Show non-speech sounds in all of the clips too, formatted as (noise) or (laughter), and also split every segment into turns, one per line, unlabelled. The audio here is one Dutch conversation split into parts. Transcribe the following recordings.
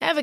Ever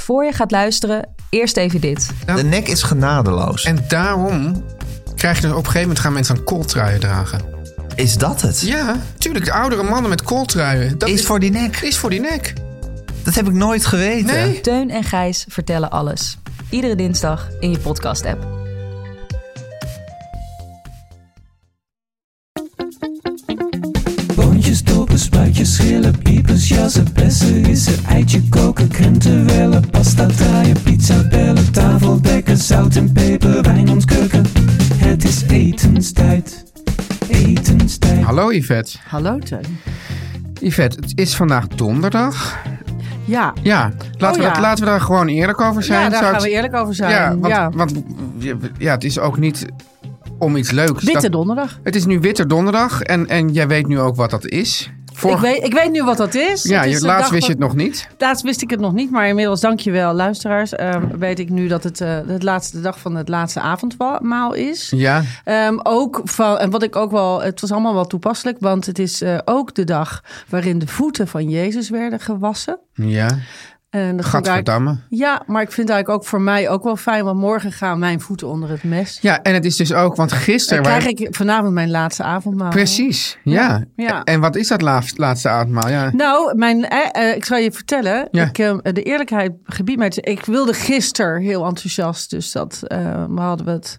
Voor je gaat luisteren, eerst even dit.
De nek is genadeloos.
En daarom krijg je dus op een gegeven moment gaan mensen aan kooltruien dragen.
Is dat het?
Ja, tuurlijk. De oudere mannen met kooltruien. Dat
Is voor die nek.
Is voor die nek.
Dat heb ik nooit geweten.
Nee.
Teun en Gijs vertellen alles. Iedere dinsdag in je podcast-app.
Boontjes, dopen, spuitjes, schillen, piepers, jassen, bessen, rissen, eitje koken, krenten wellen, pasta draaien, pizza bellen, tafel dekken, zout en peper, wijn ontkurken. Het is etenstijd, etenstijd.
Hallo Yvette.
Hallo Teun.
Yvette, het is vandaag donderdag.
Ja,
Ja, laten, we,
Oh ja.
dat- laten we daar gewoon eerlijk over zijn.
ja daar
zou
gaan
ik-
we eerlijk over zijn.
Ja,
Ja,
want, want ja, het is ook niet om iets leuks.
Witte
Dat-
donderdag.
Het is nu Witte Donderdag en, en jij weet nu ook wat dat is. Vorige-
Ik weet, ik weet nu wat dat is.
ja,
Het is
je-
de
laatst
dag
wist je
van-
het nog niet.
Laatst wist ik het nog niet, maar inmiddels dankjewel luisteraars. ehm, weet ik nu dat het eh de laatste dag van het laatste avondmaal is.
Ja,
Ehm, ook van, en wat ik ook wel, het was allemaal wel toepasselijk, want het is eh, ook de dag waarin de voeten van Jezus werden gewassen.
ja.
En eh, dat vond ik eigenlijk-
Gadverdamme.
Ja, maar ik vind het eigenlijk ook voor mij ook wel fijn, want morgen gaan mijn voeten onder het mes.
Ja, en het is dus ook, want
Dan
gisteren...
krijg
waren-
ik vanavond mijn laatste avondmaal.
Precies, ja.
Oh. Ja, ja.
En wat is dat laatst- laatste avondmaal? Ja.
Nou, mijn, eh, eh, ik zal je vertellen.
Ja.
Ik, eh, de eerlijkheid gebied mij. te- Ik wilde gisteren heel enthousiast. Dus dat eh, we hadden we het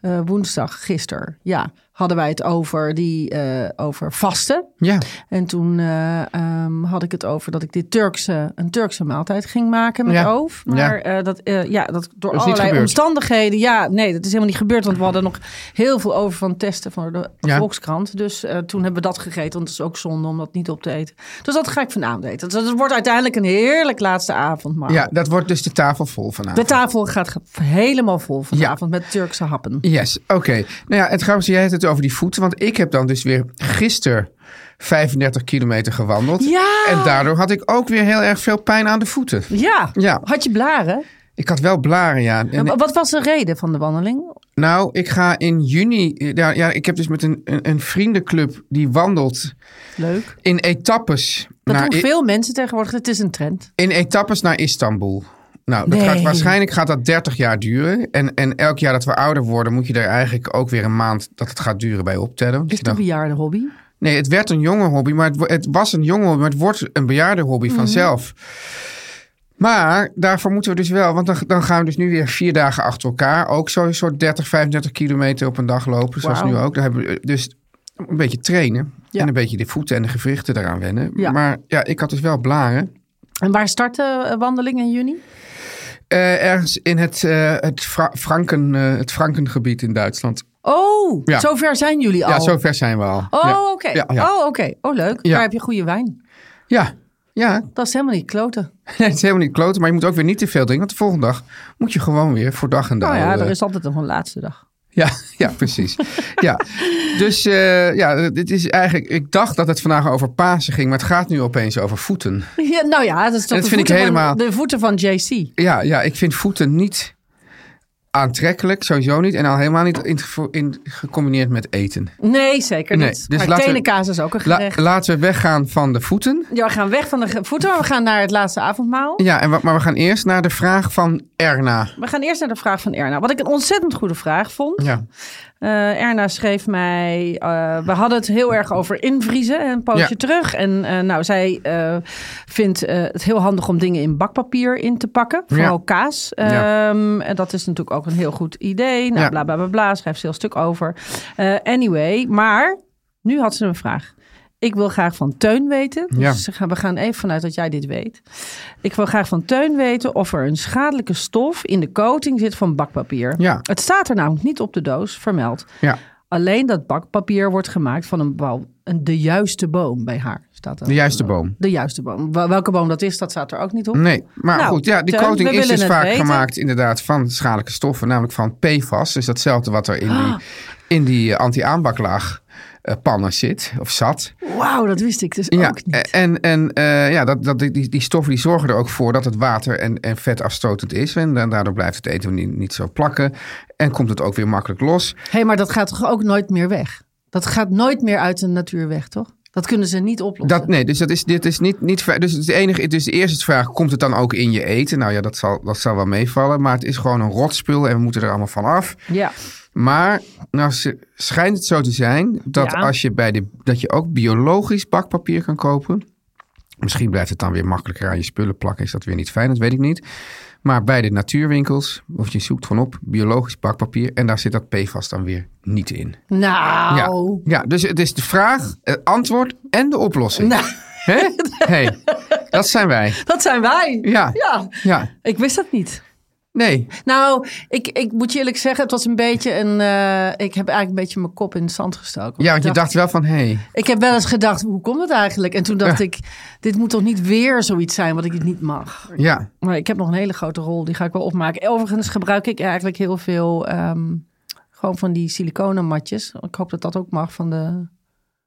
eh, woensdag, gisteren. Ja, hadden wij het over, die, eh, over vasten.
ja.
En toen eh, ehm, had ik het over dat ik dit Turkse, een Turkse maaltijd ging maken met
Ja,
oof. Maar eh, dat, eh, ja, dat door
is niet
allerlei
gebeurd.
omstandigheden. Ja, nee, dat is helemaal niet gebeurd. Want we hadden nog heel veel over van testen van de
Ja.
Volkskrant. Dus eh, toen hebben we dat gegeten. Want het is ook zonde om dat niet op te eten. Dus dat ga ik vanavond eten. Dus dat wordt uiteindelijk een heerlijk laatste avond. Maar
ja, dat wordt dus de tafel vol
de
vanavond.
tafel gaat ge- helemaal vol vanavond met Turkse happen.
Yes, oké. Nou ja, het grappige, jij hebt het over die voeten. Want ik heb dan dus weer gisteren 35 kilometer gewandeld.
Ja!
En daardoor had ik ook weer heel erg veel pijn aan de voeten.
Ja.
Ja.
had je blaren?
Ik had wel blaren, ja. En-
En Wat was de reden van de wandeling?
nou, ik ga in juni... Ja, ja, ik heb dus met een, een, een vriendenclub die wandelt
Leuk.
in etappes.
Dat
naar
doen
I-
veel mensen tegenwoordig. Het is een trend.
In etappes naar Istanbul. Nou, dat
Nee.
gaat, waarschijnlijk gaat dat 30 jaar duren. En, en elk jaar dat we ouder worden, moet je er eigenlijk ook weer een maand dat het gaat duren bij optellen. Want
Is
je
het een
dacht-
bejaarde hobby?
Nee, het werd een jonge hobby, maar het, wo- het was een jonge hobby, maar het wordt een bejaarde hobby
Mhm.
vanzelf. Maar daarvoor moeten we dus wel, want dan, dan gaan we dus nu weer vier dagen achter elkaar. Ook zo'n soort 30, 35 kilometer op een dag lopen, zoals
Wauw.
nu ook. Daar hebben we, eh, dus een beetje trainen
Ja.
en een beetje de voeten en de gewrichten eraan wennen.
Ja.
Maar ja, ik had dus wel blaren.
En waar start de eh, wandeling in juni?
Eh, ergens in het, eh, het, Fra- Franken, eh, het Frankengebied in Duitsland.
Oh,
Ja.
zover zijn jullie al.
Ja, zover zijn we al.
Oh,
ja.
oké.
Ja, ja.
Oh, oké. Oh, leuk.
Ja.
Daar heb je goede wijn.
ja. ja. (laughs)
Dat is helemaal niet kloten.
het is helemaal niet kloten, maar je moet ook weer niet te veel drinken. Want de volgende dag moet je gewoon weer voor dag en dag.
Nou ja, er is altijd nog een laatste dag.
ja, (laughs) ja,
(laughs)
precies. ja. Dus eh, ja, dit is eigenlijk... Ik dacht dat het vandaag over Pasen ging, maar het gaat nu opeens over voeten.
(laughs) Ja, nou ja, dat is toch
Dat
de,
vind ik
voeten
helemaal-
van, de voeten van JC.
Ja, ja, ik vind voeten niet aantrekkelijk, sowieso niet. En al helemaal niet in, in, gecombineerd met eten.
Nee, zeker
Nee,
niet.
dus
maar
laten we-
tenenkaas is ook een
La-
gerecht.
laten we weggaan van de voeten.
Ja, we gaan weg van de ge- voeten, maar we gaan naar het laatste avondmaal.
Ja, en wa- maar we gaan eerst naar de vraag van Erna.
We gaan eerst naar de vraag van Erna. Wat ik een ontzettend goede vraag vond.
Ja.
Eh, Erna schreef mij, eh, we hadden het heel erg over invriezen hè, een poosje
Ja.
terug. En eh, nou, zij eh, vindt eh, het heel handig om dingen in bakpapier in te pakken, vooral
Ja.
kaas.
Ja.
Ehm, En dat is natuurlijk ook een heel goed idee. Nou,
Ja.
bla bla bla bla, schrijft ze heel stuk over. Eh, anyway, maar nu had ze een vraag. Ik wil graag van Teun weten. Dus
Ja.
ze gaan- we gaan even vanuit dat jij dit weet. Ik wil graag van Teun weten of er een schadelijke stof in de coating zit van bakpapier.
Ja.
Het staat er namelijk niet op de doos vermeld.
Ja.
Alleen dat bakpapier wordt gemaakt van een, bouw, een de juiste boom bij haar. Staat er
De juiste boom.
De juiste boom. Wel- Welke boom dat is, dat staat er ook niet op.
Nee, maar
Nou,
goed, ja, die
Teun,
coating
we
is
willen
dus
het
vaak
weten.
gemaakt inderdaad van schadelijke stoffen, namelijk van PFAS. Dus datzelfde wat er in
Ah.
die, in die eh, anti-aanbaklaag eh, pannen zit of zat.
Wauw, dat wist ik dus ook niet.
En, en eh, ja, dat, dat, die, die stoffen die zorgen er ook voor dat het water en, en vet afstotend is. En da- daardoor blijft het eten niet, niet zo plakken. En komt het ook weer makkelijk los.
Hé, maar dat gaat toch ook nooit meer weg? Dat gaat nooit meer uit de natuur weg, toch? Dat kunnen ze niet oplossen.
Dat, nee, dus dat is, dit is niet, niet ver- dus het enige, dus de eerste is de vraag, komt het dan ook in je eten? Nou ja, dat zal, dat zal wel meevallen, maar het is gewoon een rotspul en we moeten er allemaal van af.
Ja.
Maar nou ze- schijnt het zo te zijn dat
Ja.
als je bij de dat je ook biologisch bakpapier kan kopen. Misschien blijft het dan weer makkelijker aan je spullen plakken. Is dat weer niet fijn? Dat weet ik niet. Maar bij de natuurwinkels, of je zoekt gewoon op biologisch bakpapier. En daar zit dat PFAS dan weer niet in.
Nou.
Ja, ja, dus het is de vraag, het antwoord en de oplossing.
Nou.
Hè? Hey, dat zijn wij.
Dat zijn wij.
Ja.
ja.
Ja,
Ik wist dat niet.
nee.
Nou, ik, ik moet je eerlijk zeggen, het was een beetje een. eh, ik heb eigenlijk een beetje mijn kop in het zand gestoken.
Ja, want je
Ik
dacht wel van, hé. Hey,
Ik heb wel eens gedacht, hoe komt het eigenlijk? En toen dacht
Ja.
ik, dit moet toch niet weer zoiets zijn wat ik niet mag.
ja.
Maar ik heb nog een hele grote rol, die ga ik wel opmaken. Overigens gebruik ik eigenlijk heel veel ehm, gewoon van die siliconen matjes. Ik hoop dat dat ook mag van de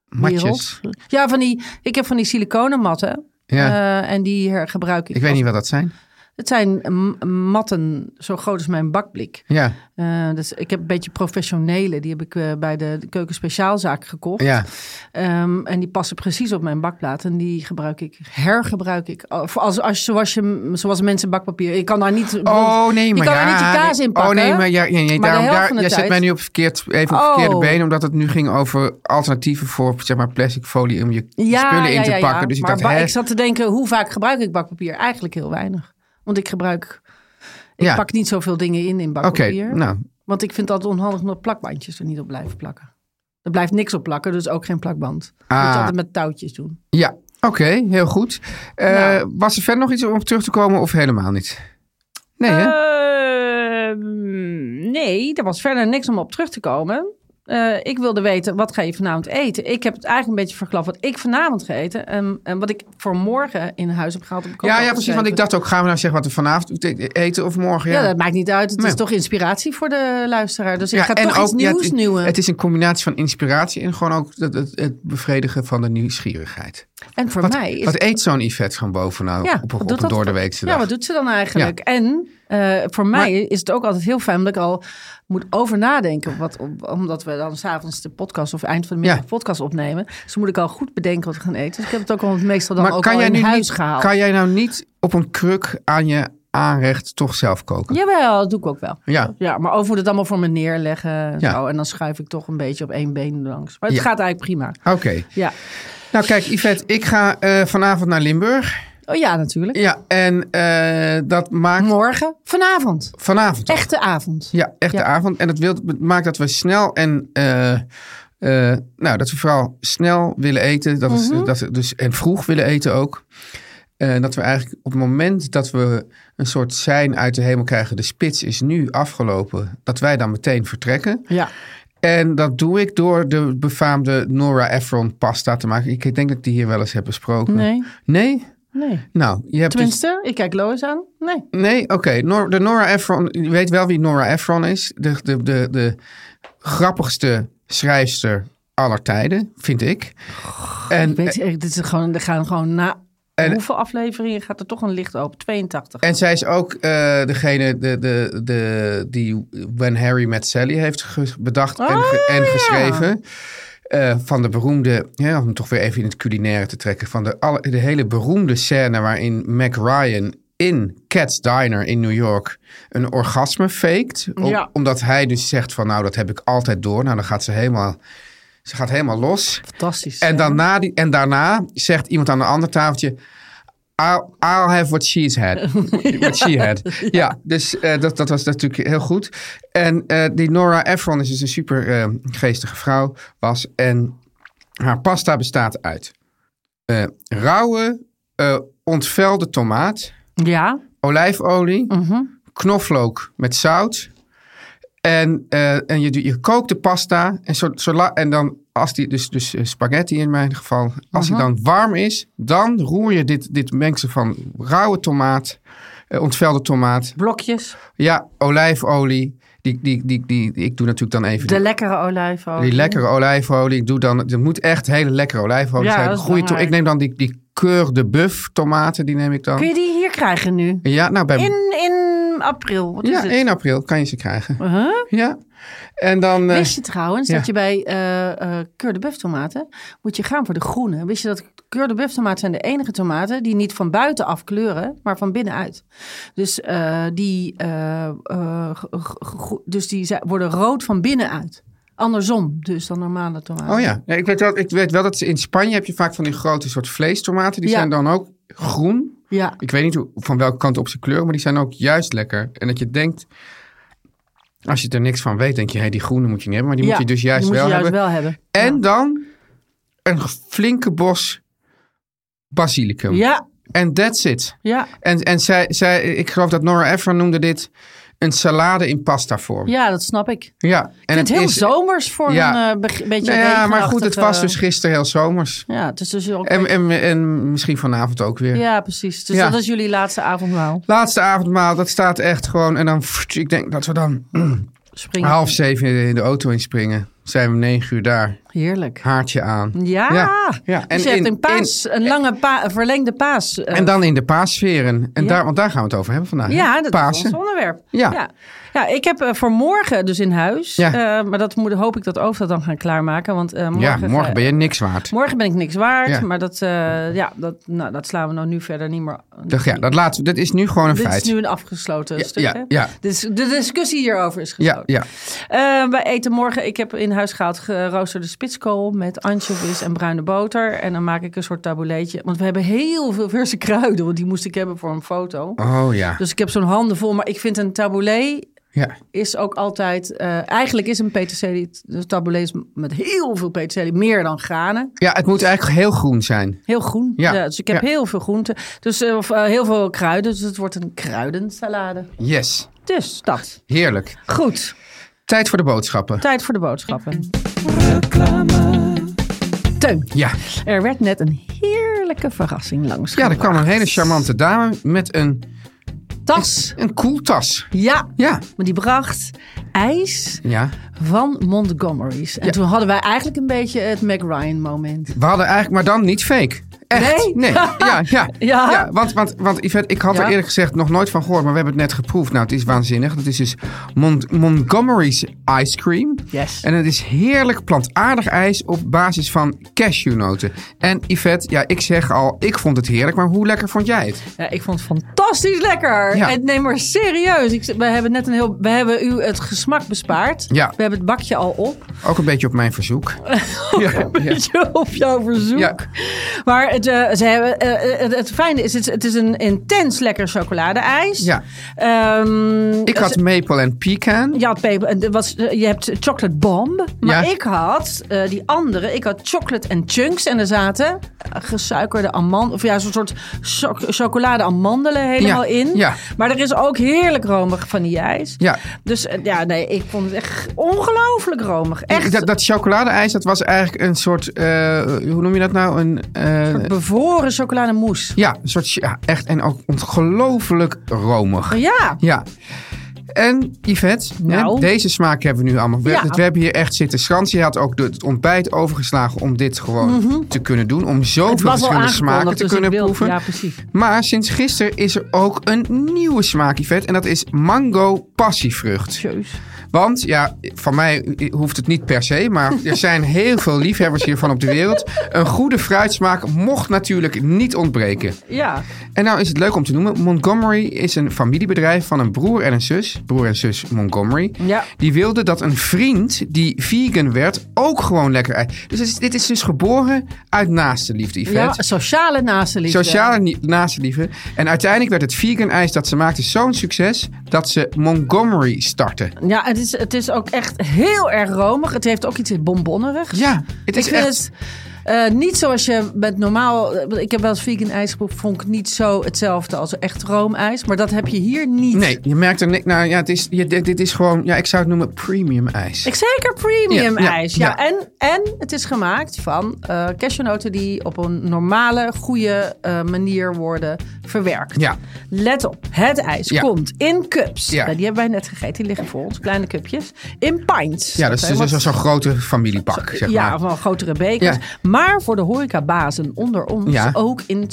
Matjes.
wereld. Ja, van die, ik heb van die siliconen matten.
Ja,
eh, en die her- gebruik ik.
ik weet
als-
niet wat dat zijn.
Het zijn m- matten zo groot als mijn bakblik.
Ja,
Eh, dus ik heb een beetje professionele. Die heb ik eh, bij de, de keuken speciaalzaak gekocht.
ja.
Ehm, en die passen precies op mijn bakplaat. En die gebruik ik, hergebruik ik. Of als, als, zoals, je, zoals mensen bakpapier. Ik kan daar niet.
Oh nee, maar
je kan
ja,
daar niet je kaas
nee.
in pakken.
Oh nee, maar ja, nee, nee,
Maar de
daarom,
helft
daar,
van de
jij zet
tijd-
mij nu op, verkeerd, even op
Oh.
verkeerde been, omdat het nu ging over alternatieven voor zeg maar, plastic folie om je
ja,
spullen
ja,
in te
ja, ja.
pakken. Dus ik
maar
dacht,
ba-
hè,
ik zat te denken, hoe vaak gebruik ik bakpapier? Eigenlijk heel weinig. Want ik gebruik. Ik
Ja.
pak niet zoveel dingen in in
oké,
bakpapier.
nou,
Want ik vind het altijd onhandig omdat plakbandjes er niet op blijven plakken. Er blijft niks op plakken, dus ook geen plakband. Dat moet
Ah.
je altijd met touwtjes doen.
ja, oké, heel goed. Eh,
Nou.
Was er verder nog iets om op terug te komen of helemaal niet? Nee, hè?
Eh, Ehm, nee, er was verder niks om op terug te komen. Eh, ik wilde weten, wat ga je vanavond eten? Ik heb het eigenlijk een beetje verklapt wat ik vanavond ga eten. En, en wat ik voor morgen in huis heb gehaald. heb ik ook
ja,
al
ja, precies, want ik
geschreven.
dacht ook, gaan we nou zeggen wat we vanavond eten of morgen?
Ja, dat maakt niet uit. Het
Nee.
is toch inspiratie voor de luisteraar. Dus ik
Ja,
ga toch iets
ja,
nieuws
het,
nieuwen.
het is een combinatie van inspiratie en gewoon ook het, het, het bevredigen van de nieuwsgierigheid.
en voor
Wat,
mij is
wat eet zo'n Yvette gewoon bovenaan
Ja,
op,
wat
een- op
doet
een
dat-
doordeweekse dag?
Ja, wat doet ze dan eigenlijk? En eh, voor mij is het ook altijd heel fijn dat ik al moet over nadenken. Wat, om- omdat we dan s'avonds de podcast of eind van de middag
Ja.
de podcast opnemen. Dus moet ik al goed bedenken wat we gaan eten. Dus ik heb het ook al meestal dan ook al in
nu
huis
niet,
gehaald.
Kan jij nou niet op een kruk aan je aanrecht toch zelf koken?
Jawel, dat doe ik ook wel.
Ja.
Ja, maar over moet het allemaal voor me neerleggen. En,
Ja.
zo. en dan schuif ik toch een beetje op één been langs. Maar het
Ja.
gaat eigenlijk prima.
Oké.
Ja.
Nou kijk, Yvette, ik ga eh, vanavond naar Limburg.
Oh ja, natuurlijk.
Ja, en eh, dat maakt
Morgen, vanavond.
vanavond. al.
Echte avond.
Ja, echt de
Ja.
avond. En dat wil, maakt dat we snel en... eh, eh, nou, dat we vooral snel willen eten. Dat is,
Mhm.
dat we dus, en vroeg willen eten ook. Eh, dat we eigenlijk op het moment dat we een soort sein uit de hemel krijgen... de spits is nu afgelopen, dat wij dan meteen vertrekken.
Ja.
En dat doe ik door de befaamde Nora Ephron pasta te maken. Ik denk dat ik die hier wel eens heb besproken.
Nee.
Nee?
Nee.
Nou, je hebt dus...
Tenminste, ik kijk Lois aan. Nee.
Nee, oké. Nor- de Nora Ephron, je weet wel wie Nora Ephron is. De, de, de, de grappigste schrijfster aller tijden, vind ik. En,
Ik weet, eh, dit is gewoon, er gaan gewoon na. hoeveel afleveringen gaat er toch een licht open? 82.
en zij is ook eh, degene de, de, de, die When Harry Met Sally heeft ge- bedacht en, ge- en geschreven. Eh, van de beroemde, ja, om toch weer even in het culinaire te trekken, van de, alle- de hele beroemde scène waarin Mac Ryan in Cat's Diner in New York een orgasme faked. Om-
Ja.
Omdat hij dus zegt van nou dat heb ik altijd door. Nou dan gaat ze helemaal, ze gaat helemaal los.
Fantastisch.
En, dan na die, en daarna zegt iemand aan een ander tafeltje... I'll, I'll have what she's had. What she had. Ja, dus eh, dat, dat was natuurlijk heel goed. En eh, die Nora Ephron is dus een super eh, geestige vrouw. Was, en haar pasta bestaat uit... eh, rauwe, eh, ontvelde tomaat...
Ja,
olijfolie,
Mhm.
knoflook met zout. En, eh, en je, doet- je kookt de pasta. En, zo, zola- en dan, als die, dus, dus eh, spaghetti in mijn geval, als
Mhm.
die dan warm is, dan roer je dit, dit mengsel van rauwe tomaat, eh, ontvelde tomaat,
blokjes.
ja, olijfolie. Die, die, die, die, ik doe natuurlijk dan even
De
die,
lekkere olijfolie.
die lekkere olijfolie. Ik doe dan, het moet echt hele lekkere olijfolie
Ja,
zijn.
dat is
Goeie to- ik
belangrijk.
neem dan die, die keur de buff tomaten, die neem ik dan.
Kun je die hier krijgen nu?
Ja, nou bij
In, in april. Wat is
ja,
Dus het? Oh.
1 april kan je ze krijgen.
Huh?
Ja. En dan. eh,
Wist je trouwens
ja.
dat je bij eh eh keur de Boeuf tomaten moet je gaan voor de groene? Wist je dat keur de Boeuf tomaten zijn de enige tomaten die niet van buiten af kleuren, maar van binnenuit? Dus, eh, die, eh, eh, ge- ge- ge- dus die zijn- worden rood van binnenuit. Andersom dus dan normale tomaten.
oh ja. Nee, ik, weet wel, ik weet wel dat ze in Spanje heb je vaak van die grote soort vleestomaten. Die
Ja.
zijn dan ook groen.
Ja.
Ik weet niet hoe, van welke kant op ze kleuren, maar die zijn ook juist lekker. En dat je denkt. Als je er niks van weet, denk je, hé, die groene moet je niet hebben. Maar die
Ja,
moet je dus juist,
die moet
wel,
je juist
hebben.
wel hebben.
En dan een flinke bos basilicum.
Ja,
En that's it.
ja,
En, en zij, zij, ik geloof dat Nora Ephron noemde dit een salade in pasta vorm.
ja, dat snap ik.
Ja.
En
En
het heel zomers voor
Ja.
een eh, beg- beetje
Nou ja, maar goed,
regenachtig,
het was
eh,
dus gisteren heel zomers.
Ja, het is dus ook...
En, en, en misschien vanavond ook weer.
ja, precies. Dus
Ja.
dat is jullie laatste avondmaal.
Laatste avondmaal, dat staat echt gewoon. En dan, pff, ik denk dat we dan
Springen.
half zeven in de auto inspringen. Zijn we negen uur daar,
Heerlijk.
haartje aan.
Ja.
Ja, ja.
En
En
je hebt
in-
een, paas, een lange pa- een verlengde paas. eh,
En dan in de paasferen. En
Ja.
daar, want daar gaan we het over hebben vandaag. hè?
ja, dat is
Pasen.
ons onderwerp.
Ja.
Ja, Ja, ik heb eh, voor morgen dus in huis.
Ja.
eh, maar dat moet, hoop ik dat over dat dan gaan klaarmaken. Want eh, morgen,
ja,
ga-
morgen ben je niks waard.
morgen ben ik niks waard.
Ja.
Maar dat, eh, ja, dat, nou, dat slaan we nou nu verder niet meer.
Dat, ja, dat, laten we- dat is nu gewoon een
Dit
feit.
is nu een afgesloten stuk.
ja,
hè?
ja.
Dus de discussie hierover is
ja,
gesloten.
ja.
Eh, wij eten morgen, ik heb in huis gehaald geroosterde spitskool met anchovies en bruine boter. En dan maak ik een soort tabouletje. Want we hebben heel veel verse kruiden, want die moest ik hebben voor een foto.
Oh ja.
Dus ik heb zo'n handen vol. Maar ik vind een taboulet
ja.
is ook altijd... eh, eigenlijk is een peterselie, een taboulet is met heel veel peterselie, meer dan granen.
Ja, het moet eigenlijk heel groen zijn.
Heel groen. Ja.
Ja.
dus ik heb
Ja.
heel veel groenten. Dus eh, of, eh, heel veel kruiden. Dus het wordt een kruidensalade.
Yes.
Dus dat.
Heerlijk.
Goed.
Tijd voor de boodschappen.
Tijd voor de boodschappen. Teun.
Ja.
Er werd net een heerlijke verrassing langs.
Ja, er
gebracht.
kwam een hele charmante dame met een,
tas.
een koeltas.
Ja.
Ja.
Maar die bracht ijs
Ja.
van Montgomery's. En
Ja.
toen hadden wij eigenlijk een beetje het Mac Ryan moment.
We hadden eigenlijk, maar dan niet fake. Echt?
Nee?
Ja, ja.
(laughs) Ja?
want, want, want Yvette, ik had
Ja.
er eerlijk gezegd nog nooit van gehoord, maar we hebben het net geproefd. Nou, het is waanzinnig. Dat is dus Mont- Montgomery's Ice Cream.
Yes.
En het is heerlijk plantaardig ijs op basis van cashewnoten. En Yvette, ja, ik zeg al, ik vond het heerlijk, maar hoe lekker vond jij het?
Ja, ik vond het fantastisch lekker.
Ja.
En neem maar serieus. Ik, we hebben net een heel. We hebben u het gesmak bespaard.
Ja.
We hebben het bakje al op.
Ook een beetje op mijn
(laughs)
verzoek. ja, ja.
Beetje op jouw verzoek.
Ja.
Maar het, eh, ze hebben, eh, het, het fijne is, het, het is een intens lekker chocoladeijs.
Ja.
Ehm,
Ik had maple en pecan.
Je had peper, en er was, eh, je hebt chocolate bomb. Maar
Ja.
ik had eh, die andere. Ik had chocolate en chunks. En er zaten eh, gesuikerde amandelen. Of ja, zo'n soort choc- chocolade amandelen helemaal
Ja,
in.
ja.
Maar er is ook heerlijk romig van die ijs.
Ja.
Dus eh, ja, nee, ik vond het echt ongelooflijk romig. Echt
Dat, dat chocoladeijs, dat was eigenlijk een soort, eh, hoe noem je dat nou? Een, eh,
bevoren chocolademousse.
Oh
ja, een soort, ja, echt en ook ongelooflijk romig.
Oh Ja.
Ja. en Yvette, hè,
Nou.
deze smaak hebben we nu allemaal. We,
Ja.
we hebben hier echt zitten schansen. Je had ook het ontbijt overgeslagen om dit gewoon te kunnen doen. Om
Mhm. Het
zoveel
was al
verschillende smaken
aangekondigd,
te
dus
kunnen
ik wil-
proeven.
Ja, precies.
Maar sinds gisteren is er ook een nieuwe smaak, Yvette. En dat is mango passievrucht.
Tjeus.
Want, ja, van mij hoeft het niet per se,
(laughs)
maar er zijn heel veel liefhebbers hiervan op de wereld. Een goede fruitsmaak mocht natuurlijk niet ontbreken.
Ja,
En nou is het leuk om te noemen, Montgomery is een familiebedrijf van een broer en een zus, broer en zus Montgomery.
Ja.
Die wilde dat een vriend die vegan werd ook gewoon lekker ei. Dus het is- dit is dus geboren uit naaste liefde, Yvette.
ja sociale naastenliefde.
Sociale ni- naastenliefde. En uiteindelijk werd het vegan ijs dat ze maakte zo'n succes dat ze Montgomery startte.
Ja, het is, het is ook echt heel erg romig. Het heeft ook iets bonbonnerigs.
Ja, het is
ik vind
echt-
het eh, niet zoals je met normaal... eh, Ik heb wel eens vegan ijs geproefd. Vond ik niet zo hetzelfde als echt roomijs. Maar dat heb je hier niet.
Nee, je merkt er niks. Nou ja, het is, je- dit, dit is gewoon, ja, ik zou het noemen premium ijs.
Ik zeker premium
Ja, ja,
ijs. Ja,
ja.
En, en het is gemaakt van eh cashewnoten die op een normale, goede eh, manier worden verwerkt.
Ja.
Let op, het ijs
Ja.
komt in cups.
Ja.
Nou, die hebben wij net gegeten. Die liggen voor ons, kleine cupjes. In pints.
Ja, dat is dus
zijn wat-
zo'n grote familiepak, zeg
ja,
maar.
van grotere bekers.
Ja.
Maar voor de horecabazen onder ons
Ja.
dus ook in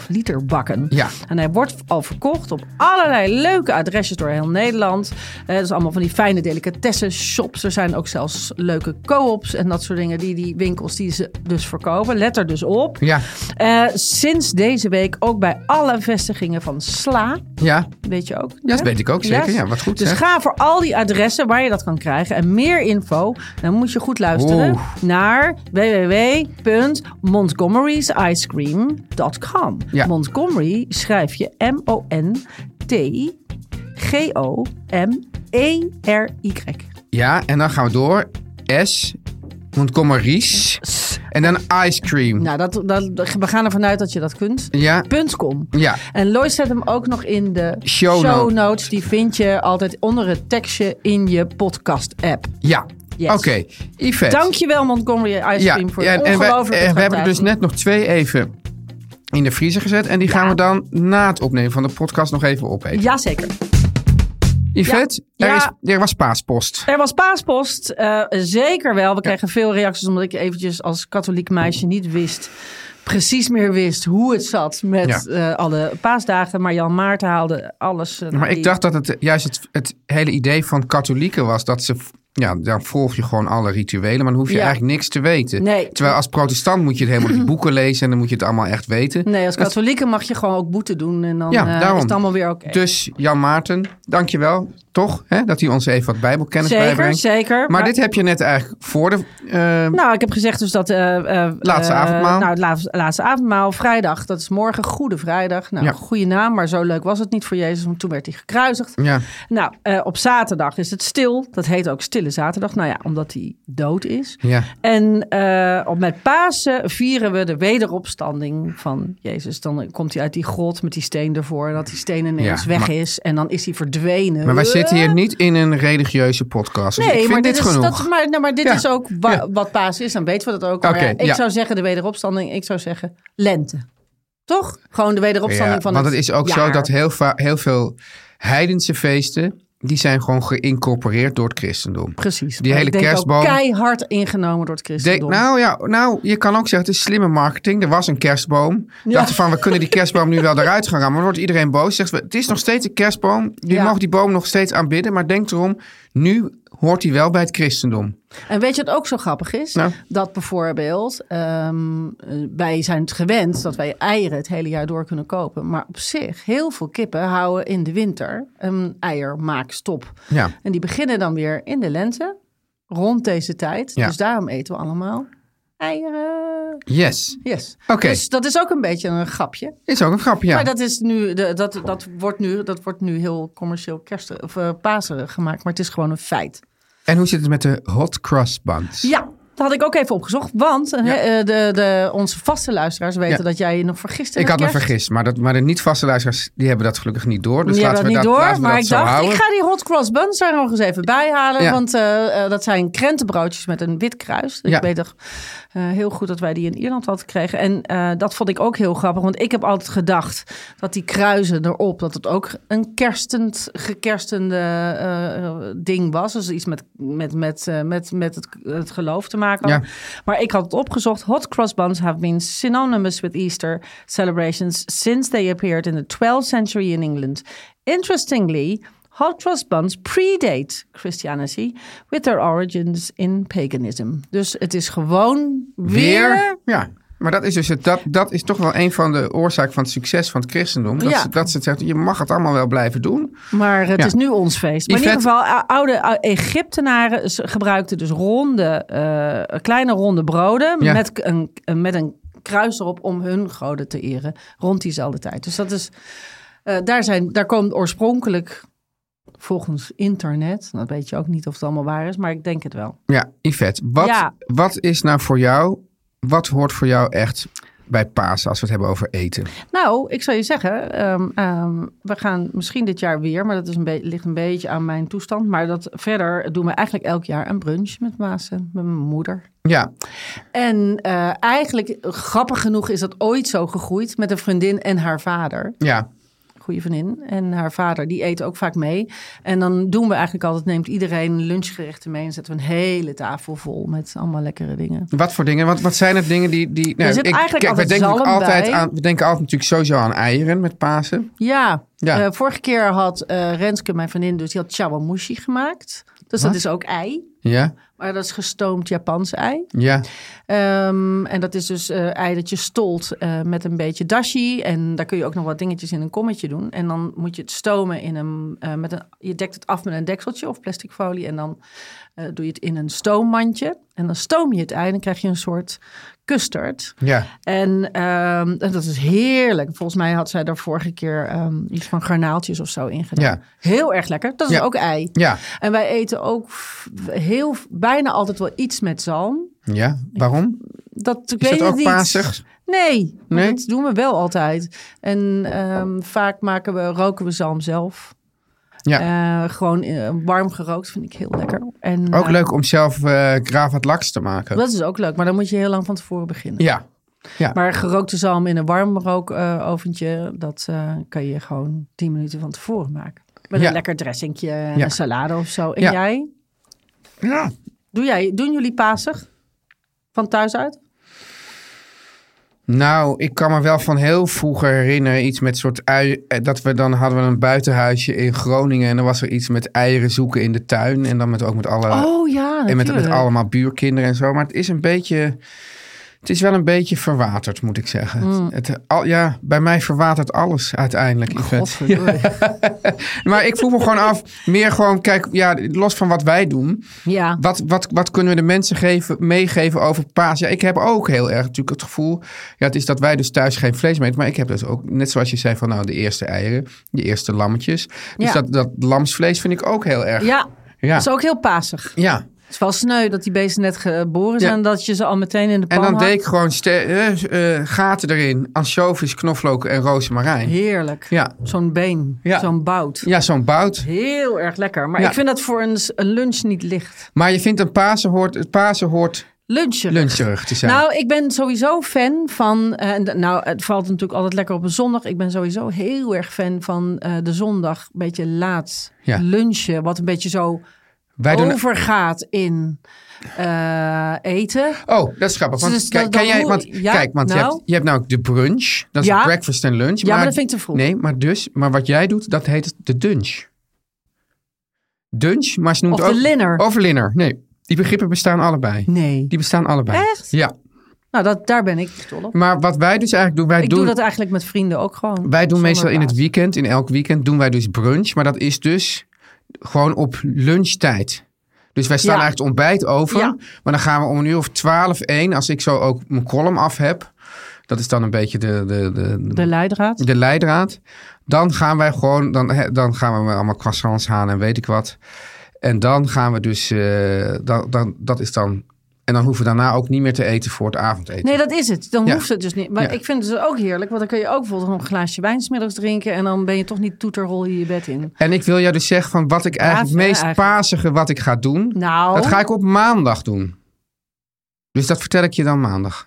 2,5 liter bakken.
Ja.
En hij wordt al verkocht op allerlei leuke adresjes door heel Nederland. Eh, dat is allemaal van die fijne delicatessen shops. Er zijn ook zelfs leuke co-ops en dat soort dingen. Die, die winkels die ze dus verkopen. Let er dus op.
Ja,
Eh, sinds deze week ook bij alle vestigingen van Sla.
ja.
Weet je ook?
Ja, dat
hè?
weet ik ook zeker. Ja, wat goed,
Dus
zeg.
ga voor al die adressen waar je dat kan krijgen. En meer info, dan moet je goed luisteren
Oeh.
naar www.montgomerysicecream.com.
Ja.
Montgomery schrijf je E M-O-N-T-G-O-M-E-R-Y.
Ja, en dan gaan we door. S. Montgomery's. En dan ice cream.
Nou, dat, dat, we gaan ervan uit dat je dat kunt.
Ja.
Punt .com.
Ja.
En Lois zet hem ook nog in de
Show
show
notes.
notes. Die vind je altijd onder het tekstje in je podcast-app.
Ja.
Yes.
Oké, Yvette.
Dankjewel Montgomery Ice
ja.
Cream voor
ja,
de
en, wij-
ongelooflijke
en we hebben er dus
tractatie.
net nog twee even in de vriezer gezet. En die gaan we dan na het opnemen van de podcast nog even opeten.
Jazeker.
Yvette,
Ja.
Er,
Ja.
is, er was paaspost.
Er was paaspost, eh, zeker wel. We kregen veel reacties omdat ik eventjes als katholiek meisje niet wist... precies meer wist hoe het zat met eh, alle paasdagen. Maar Jan Maarten haalde alles. eh,
Maar
die-
ik dacht dat het eh, juist het, het hele idee van katholieken was dat ze. Ja, dan volg je gewoon alle rituelen, maar dan hoef je
Ja.
eigenlijk niks te weten.
Nee.
Terwijl als protestant moet je het
(clears throat)
helemaal die boeken lezen en dan moet je het allemaal echt weten.
Nee, als katholieke mag je gewoon ook boete doen. En dan
Ja,
eh,
daarom.
is het allemaal weer oké.
Dus Jan Maarten, dankjewel toch hè, dat hij ons even wat bijbelkennis
Zeker,
bijbrengt.
zeker.
Maar,
Maar-
dit heb je net eigenlijk voor de... eh,
Nou, ik heb gezegd dus dat... eh, eh,
Laatste
eh,
avondmaal.
Nou, het laatste, laatste avondmaal. Vrijdag, dat is morgen. Goede vrijdag. Nou,
Ja.
goede naam, maar zo leuk was het niet voor Jezus. Want toen werd hij gekruisigd.
ja.
Nou, eh, op zaterdag is het stil. Dat heet ook Stille Zaterdag. Nou ja, omdat hij dood is.
Ja.
En eh, op met Pasen vieren we de wederopstanding van Jezus. Dan komt hij uit die grot met die steen ervoor. En dat die steen ineens
Ja,
weg
maar-
is. En dan is hij verdwenen.
Maar wij
Eh?
zitten hier niet in een religieuze podcast, dus ik vind
maar
dit,
dit, is,
genoeg.
dat, maar, nou, maar dit
Ja,
is ook wa-
ja.
wat Pasen is. Dan weten we dat ook. Maar
Oké,
ja, ik
ja.
zou zeggen de wederopstanding. Ik zou zeggen lente. Toch? Gewoon de wederopstanding
Ja,
van
want
het
het is ook zo
jaar.
dat heel, va- heel veel heidense feesten, die zijn gewoon geïncorporeerd door het christendom.
Precies.
Die
Maar
hele
ik denk
kerstboom.
Ook keihard ingenomen door het
Denk-
christendom.
nou ja, nou, je kan ook zeggen, het is slimme marketing. Er was een kerstboom. Dachten van, we kunnen die kerstboom nu wel eruit gaan rammen. Maar dan wordt iedereen boos. Zegt, het is nog steeds een kerstboom. Je
Ja.
mag die boom nog steeds aanbidden. Maar denk erom, nu hoort hij wel bij het christendom.
En weet je wat ook zo grappig is?
Nou.
Dat bijvoorbeeld, ehm, eh, wij zijn het gewend dat wij eieren het hele jaar door kunnen kopen. Maar op zich, heel veel kippen houden in de winter een eiermaakstop.
Ja.
En die beginnen dan weer in de lente, rond deze tijd.
Ja.
Dus daarom eten we allemaal eieren.
Yes.
Yes.
Oké.
Dus dat is ook een beetje een grapje.
Is ook een grap, ja.
Maar dat, is nu, de- dat, dat, wordt nu, dat wordt nu heel commercieel kerst, of, eh, paserig gemaakt. Maar het is gewoon een feit.
En hoe zit het met de hot cross buns?
Ja,
had ik ook even opgezocht. Want eh, eh, de, de, onze vaste luisteraars weten
Ja.
dat jij je nog vergiste.
Ik
met
had me
kerst.
vergist, maar, dat, maar de niet-vaste luisteraars die hebben dat gelukkig niet door. Dus
ja,
laten
dat
we
niet
dat,
door,
laten we
maar
dat
ik
zo
dacht,
houden.
ik ga die hot cross buns er nog eens even bij halen.
Ja.
Want eh, eh, dat zijn krentenbroodjes met een wit kruis. Dus
Ja.
Ik weet nog eh, heel goed dat wij die in Ierland hadden gekregen. En eh, dat vond ik ook heel grappig, want ik heb altijd gedacht dat die kruisen erop, dat het ook een kerstend, gekerstende eh, ding was. Dus iets met, met, met, eh, met, met het, het geloof te maken had.
Ja.
Maar ik had het opgezocht. Hot cross buns have been synonymous with Easter celebrations since they appeared in the 12th century in England. Interestingly, hot cross buns predate Christianity with their origins in paganism. Dus het is gewoon weer.
Weer? Ja. Maar dat is, dus het, dat, dat is toch wel een van de oorzaken van het succes van het christendom. Dat,
Ja.
ze, dat ze het zegt, je mag het allemaal wel blijven doen.
Maar het
Ja.
is nu ons feest. Maar in
Yvette-
ieder geval, o- oude o- Egyptenaren s- gebruikten dus ronde, eh, kleine ronde broden
Ja.
met, k- een, een- met een kruis erop om hun goden te eren rond diezelfde tijd. Dus dat is, eh, daar, zijn, daar komt oorspronkelijk volgens internet, dat weet je ook niet of het allemaal waar is, maar ik denk het wel.
Ja, Yvette, wat,
Ja.
wat is nou voor jou, wat hoort voor jou echt bij Pasen als we het hebben over eten?
Nou, ik zou je zeggen, ehm, ehm, we gaan misschien dit jaar weer, maar dat is een be- ligt een beetje aan mijn toestand. Maar dat verder doen we eigenlijk elk jaar een brunch met Maasen, met mijn moeder.
Ja,
En eh, eigenlijk, grappig genoeg, is dat ooit zo gegroeid met een vriendin en haar vader.
ja.
Goede vriendin. En haar vader, die eet ook vaak mee. En dan doen we eigenlijk altijd, neemt iedereen lunchgerechten mee en zetten we een hele tafel vol met allemaal lekkere dingen.
Wat voor dingen? Wat, wat zijn het dingen die... die nou,
zit eigenlijk
we
altijd
denken natuurlijk
zalm
altijd
bij.
aan, We denken altijd natuurlijk sowieso aan eieren met Pasen.
Ja,
Ja.
eh, vorige keer had eh, Renske, mijn vriendin, dus die had chawamushi gemaakt. Dus dat is ook ei.
Ja,
Maar dat is gestoomd Japans ei.
ja.
Ehm, en dat is dus eh ei dat je stolt eh, met een beetje dashi. En daar kun je ook nog wat dingetjes in een kommetje doen. En dan moet je het stomen in een, eh, met een... Je dekt het af met een dekseltje of plastic folie. En dan eh, doe je het in een stoommandje. En dan stoom je het ei en dan krijg je een soort custard.
Ja.
En ehm, en dat is heerlijk. Volgens mij had zij daar vorige keer ehm, iets van garnaaltjes of zo in gedaan.
Ja.
Heel erg lekker. Dat is
Ja.
ook ei.
Ja.
En wij eten ook f- heel, bijna altijd wel iets met zalm.
Ja, waarom?
Dat, ik
Is dat
weet het
ook
niet.
pasig?
Nee, maar
Nee?
dat doen we wel altijd. En ehm, vaak maken we, roken we zalm zelf.
Ja.
Eh, gewoon eh, warm gerookt vind ik heel lekker. En,
Ook
eh,
leuk om zelf eh gravat laks te maken.
Dat is ook leuk, maar dan moet je heel lang van tevoren beginnen.
Ja. Ja.
Maar gerookte zalm in een warm rookoventje, dat eh, kan je gewoon 10 minuten van tevoren maken. Met
Ja.
een lekker dressingje,
Ja.
een salade of zo. En
Ja.
jij?
ja.
Doe jij? Doen jullie pasig? Van thuis uit?
Nou, ik kan me wel van heel vroeger herinneren iets met soort ui, eh, dat we dan hadden we een buitenhuisje in Groningen en dan was er iets met eieren zoeken in de tuin en dan met ook met alle
oh ja,
Ah, en met, met
natuurlijk.
allemaal buurkinderen en zo. Maar het is een beetje, het is wel een beetje verwaterd, moet ik zeggen.
Mm.
Het, het- al, ja, bij mij verwatert alles uiteindelijk. Yvette. (laughs)
Godverdorie.
Maar ik vroeg me gewoon af, meer gewoon kijk, ja, los van wat wij doen.
Ja.
Wat, wat, wat kunnen we de mensen geven, meegeven over paas? Ja, ik heb ook heel erg natuurlijk het gevoel... Ja, het is dat wij dus thuis geen vlees meer eten. Maar ik heb dus ook, net zoals je zei van nou, de eerste eieren, de eerste lammetjes. Dus
Ja.
dat, dat lamsvlees vind ik ook heel erg...
Ja,
Ja.
dat is ook heel pasig.
Ja.
Het is wel sneu dat die beesten net geboren zijn
Ja.
en dat je ze al meteen in de pan
En dan
hakt.
deed ik gewoon ste- eh, eh, gaten erin. Anchovies, knoflook en rozemarijn.
Heerlijk.
Ja.
Zo'n been,
Ja.
zo'n bout.
Ja, zo'n bout.
Heel erg lekker. Maar
Ja.
ik vind dat voor een, s- een lunch niet licht.
Maar je vindt een Pasen hoort, het Pasen hoort
Lunchen.
luncherig te zijn.
Nou, ik ben sowieso fan van. eh, en d- nou, het valt natuurlijk altijd lekker op een zondag. Ik ben sowieso heel erg fan van eh, de zondag. Een beetje laat
Ja.
lunchen. Wat een beetje zo
wij doen,
overgaat in eh, eten.
Oh, dat is grappig. Want,
Dus dat-
kijk,
dat
kan jij,
hoe-
want,
ja,
kijk, want je,
nou?
hebt, je hebt nou de brunch. Dat is
Ja.
breakfast en lunch.
maar dat vind ik te vroeg.
Nee, maar, dus, maar wat jij doet, dat heet de dunch. Dunch, maar ze noemt
Of de
ook...
linner.
Of de linner. Nee, die begrippen bestaan allebei.
Nee.
Die bestaan allebei.
Echt?
Ja.
Nou, dat, daar ben ik dol op.
Maar wat wij dus eigenlijk doen... Wij
Ik
doen,
doe dat eigenlijk met vrienden ook gewoon.
Wij doen
Zonder
meestal in het
baas.
weekend, in elk weekend, doen wij dus brunch. Maar dat is dus gewoon op lunchtijd. Dus wij staan
Ja.
eigenlijk het ontbijt over.
Ja.
Maar dan gaan we om een uur of twaalf, één, als ik zo ook mijn column af heb. Dat is dan een beetje de, de, de,
De leidraad.
de leidraad. Dan gaan wij gewoon, dan, hè, dan gaan we allemaal croissants halen en weet ik wat. En dan gaan we dus, eh, dan, dan, dat is dan En dan hoeven we daarna ook niet meer te eten voor het avondeten.
Nee, dat is het. Dan
Ja.
hoeft het dus niet. Maar
Ja.
ik vind het dus ook heerlijk. Want dan kun je ook bijvoorbeeld nog een glaasje wijn 's middags drinken. En dan ben je toch niet toeterrol in je bed in.
En ik wil jou dus zeggen van wat ik eigenlijk
hè,
het meest
eigenlijk.
pasige wat ik ga doen,
Nou,
dat ga ik op maandag doen. Dus dat vertel ik je dan maandag.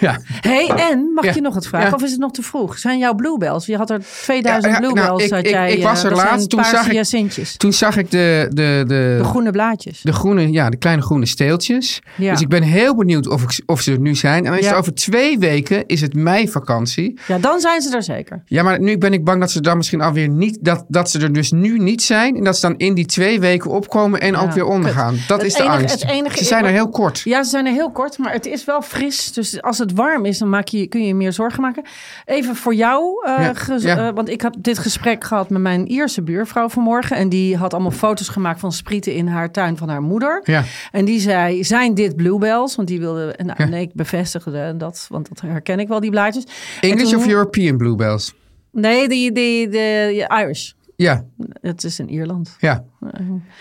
ja.
hey, en mag
Ja.
ik je nog wat vragen?
Ja.
Of is het nog te vroeg? Zijn jouw bluebells? Je had er 2000
Ja, ja, nou,
bluebells.
ik-
had
ik-
jij,
ik
eh,
was er
dat zijn
laatst, toen
paarse
zag ik-
hyacintjes.
Toen zag ik de, de, de,
De groene blaadjes.
de groene, ja, de kleine groene steeltjes.
Ja.
Dus ik ben heel benieuwd of, ik, of ze er nu zijn. En dan is
Ja.
het over twee weken is het meivakantie.
Ja, dan zijn ze er zeker.
Ja, maar nu ben ik bang dat ze dan misschien alweer niet, dat, dat ze er dus nu niet zijn. En dat ze dan in die twee weken opkomen en ook weer ondergaan. Dat
Het
is de
enige-
angst.
het enige
ze
is-
zijn er heel kort.
Ja, ze zijn er heel kort, maar het is wel fris. Dus als het warm is, dan maak je, kun je je meer zorgen maken. Even voor jou, eh,
Ja,
gez-
ja.
eh, want ik had dit gesprek gehad met mijn Ierse buurvrouw vanmorgen. En die had allemaal foto's gemaakt van sprieten in haar tuin van haar moeder.
Ja.
En die zei, zijn dit bluebells? Want die wilde, nou, nee, ik bevestigde dat, want dat herken ik wel, die blaadjes. En
English
toen-
of European bluebells?
Nee, die, die, de Irish.
Ja,
Het is in Ierland.
ja. Ja,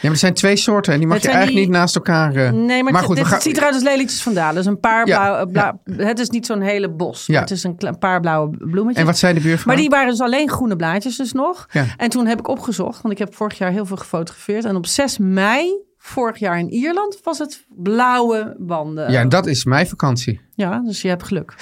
maar er zijn twee soorten en die mag
Het
je
zijn
eigenlijk
die-
niet naast elkaar... eh,
Nee, maar, het-
goed,
dit,
we gaan...
het ziet eruit als lelietjes van dalen. Dus een paar
Ja,
blauwe... bla- Het is niet zo'n hele bos. maar
Ja.
Het is een, kle- een paar blauwe bloemetjes.
En wat zei de buurvrouw?
Maar die waren dus alleen groene blaadjes dus nog.
Ja.
En toen heb ik opgezocht, want ik heb vorig jaar heel veel gefotografeerd. En op 6 mei vorig jaar in Ierland was het blauwe wanden.
Ja, en dat is mijn vakantie.
eh, Ja, dus je hebt geluk.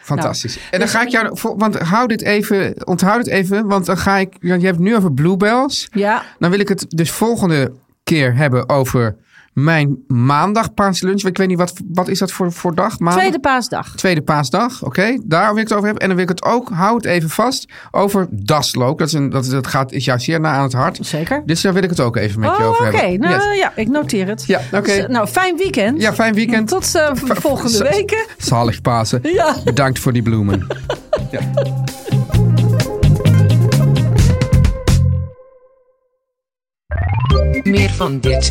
Fantastisch.
Nou,
en dan
dus-
ga ik jou... voor- Want hou dit even... Onthoud het even, want dan ga ik... want Je hebt het nu over bluebells.
Ja,
Dan wil ik het dus volgende keer hebben over mijn maandag paaslunch. Ik weet niet, wat, wat is dat voor, voor dag? Maandag?
tweede paasdag.
Tweede paasdag, oké. Daar wil ik het over hebben. En dan wil ik het ook, hou het even vast, over daslook. Dat, is een, dat, dat gaat, is jou zeer na aan het hart.
Zeker.
Dus daar wil ik het ook even met je
Oh,
over
oké.
hebben.
Nou
Yes.
ja, ik noteer het.
Ja, oké.
Dus, nou, fijn weekend.
Ja, fijn weekend.
Tot eh, volgende
Z-
week.
Zalig Pasen.
Ja.
Bedankt voor die bloemen.
Meer van dit.